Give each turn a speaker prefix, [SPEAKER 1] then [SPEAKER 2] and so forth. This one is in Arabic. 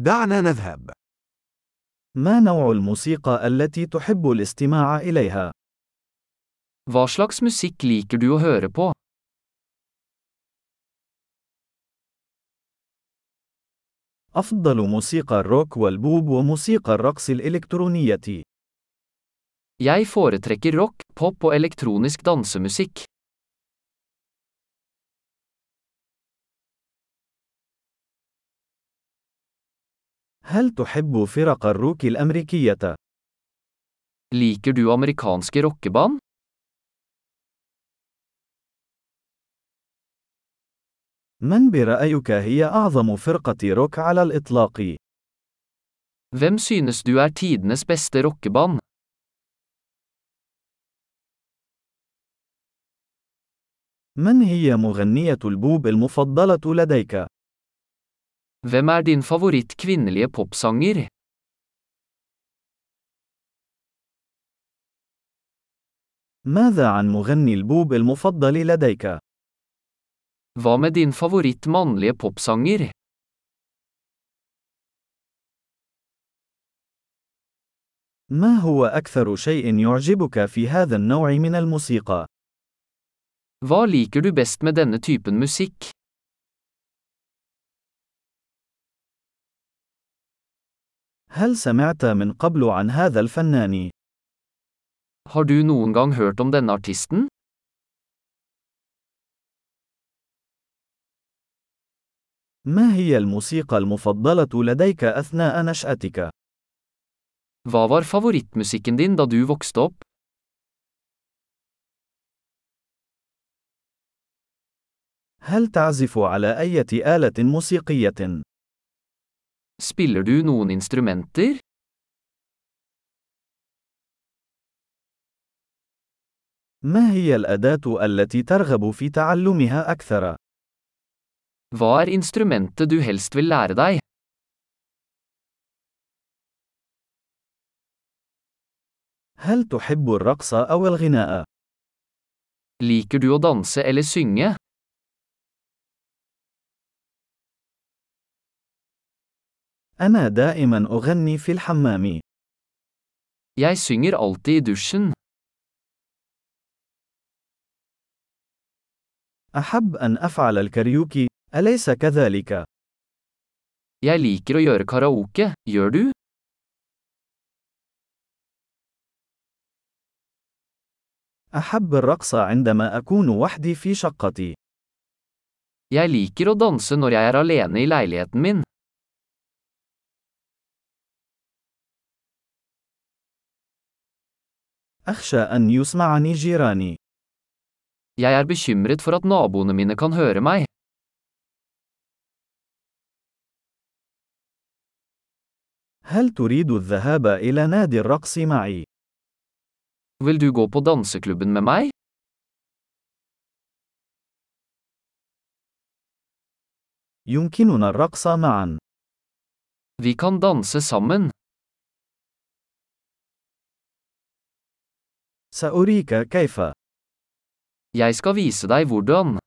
[SPEAKER 1] دعنا نذهب.
[SPEAKER 2] ما نوع الموسيقى التي تحب الاستماع إليها؟
[SPEAKER 3] Hva slags musikk liker du å høre på?
[SPEAKER 2] أفضل موسيقى الروك والبوب وموسيقى الرقص الإلكترونية.
[SPEAKER 3] Jeg foretrekker rock, pop og elektronisk dansemusikk.
[SPEAKER 2] هل تحب فرق الروك الأمريكية؟
[SPEAKER 3] Liker du amerikanske rockeband?
[SPEAKER 2] من برأيك هي أعظم فرقة روك على الإطلاق؟
[SPEAKER 3] Hvem synes du er tidenes beste rockeband?
[SPEAKER 2] من هي مغنية البوب المفضلة لديك؟
[SPEAKER 3] Hvem er din favoritt kvinnelige popsanger?
[SPEAKER 2] ماذا عن مغني البوب المفضل لديك؟
[SPEAKER 3] Hva med din favoritt mannlige popsanger?
[SPEAKER 2] ما هو أكثر شيء يعجبك في هذا النوع من الموسيقى؟
[SPEAKER 3] Hva liker du best med denne typen musikk?
[SPEAKER 2] هل سمعت من قبل عن هذا الفنان؟
[SPEAKER 3] Har du noen gang hørt om denne artisten?
[SPEAKER 2] ما هي الموسيقى المفضلة لديك أثناء نشأتك؟
[SPEAKER 3] Hva var favorittmusikken din da du vokste opp?
[SPEAKER 2] هل تعزف على أية آلة موسيقية؟
[SPEAKER 3] Spiller du noen instrumenter?
[SPEAKER 2] ما هي الأداة التي ترغب في تعلمها أكثر؟
[SPEAKER 3] Hva er instrumentet du helst vil lære deg?
[SPEAKER 2] هل تحب الرقص أو الغناء؟
[SPEAKER 3] Liker du å danse eller synge?
[SPEAKER 2] أنا دائما أغني في الحمام.
[SPEAKER 3] Jeg synger alltid i dusjen.
[SPEAKER 2] أحب أن أفعل الكاريوكي، أليس كذلك؟
[SPEAKER 3] Jeg liker å gjøre karaoke, gjør du?
[SPEAKER 2] أحب الرقص عندما أكون وحدي في شقتي.
[SPEAKER 3] Jeg liker å danse når jeg er alene i leiligheten min.
[SPEAKER 2] أخشى أن يسمعني جيراني.
[SPEAKER 3] Jeg er bekymret for at naboene mine kan høre meg.
[SPEAKER 2] هل تريد الذهاب إلى نادي الرقص معي؟
[SPEAKER 3] Vil du gå på danseklubben med meg?
[SPEAKER 2] يمكننا الرقص معا.
[SPEAKER 3] Vi kan danse sammen.
[SPEAKER 2] سأريك كيف.
[SPEAKER 3] Jeg skal vise deg hvordan.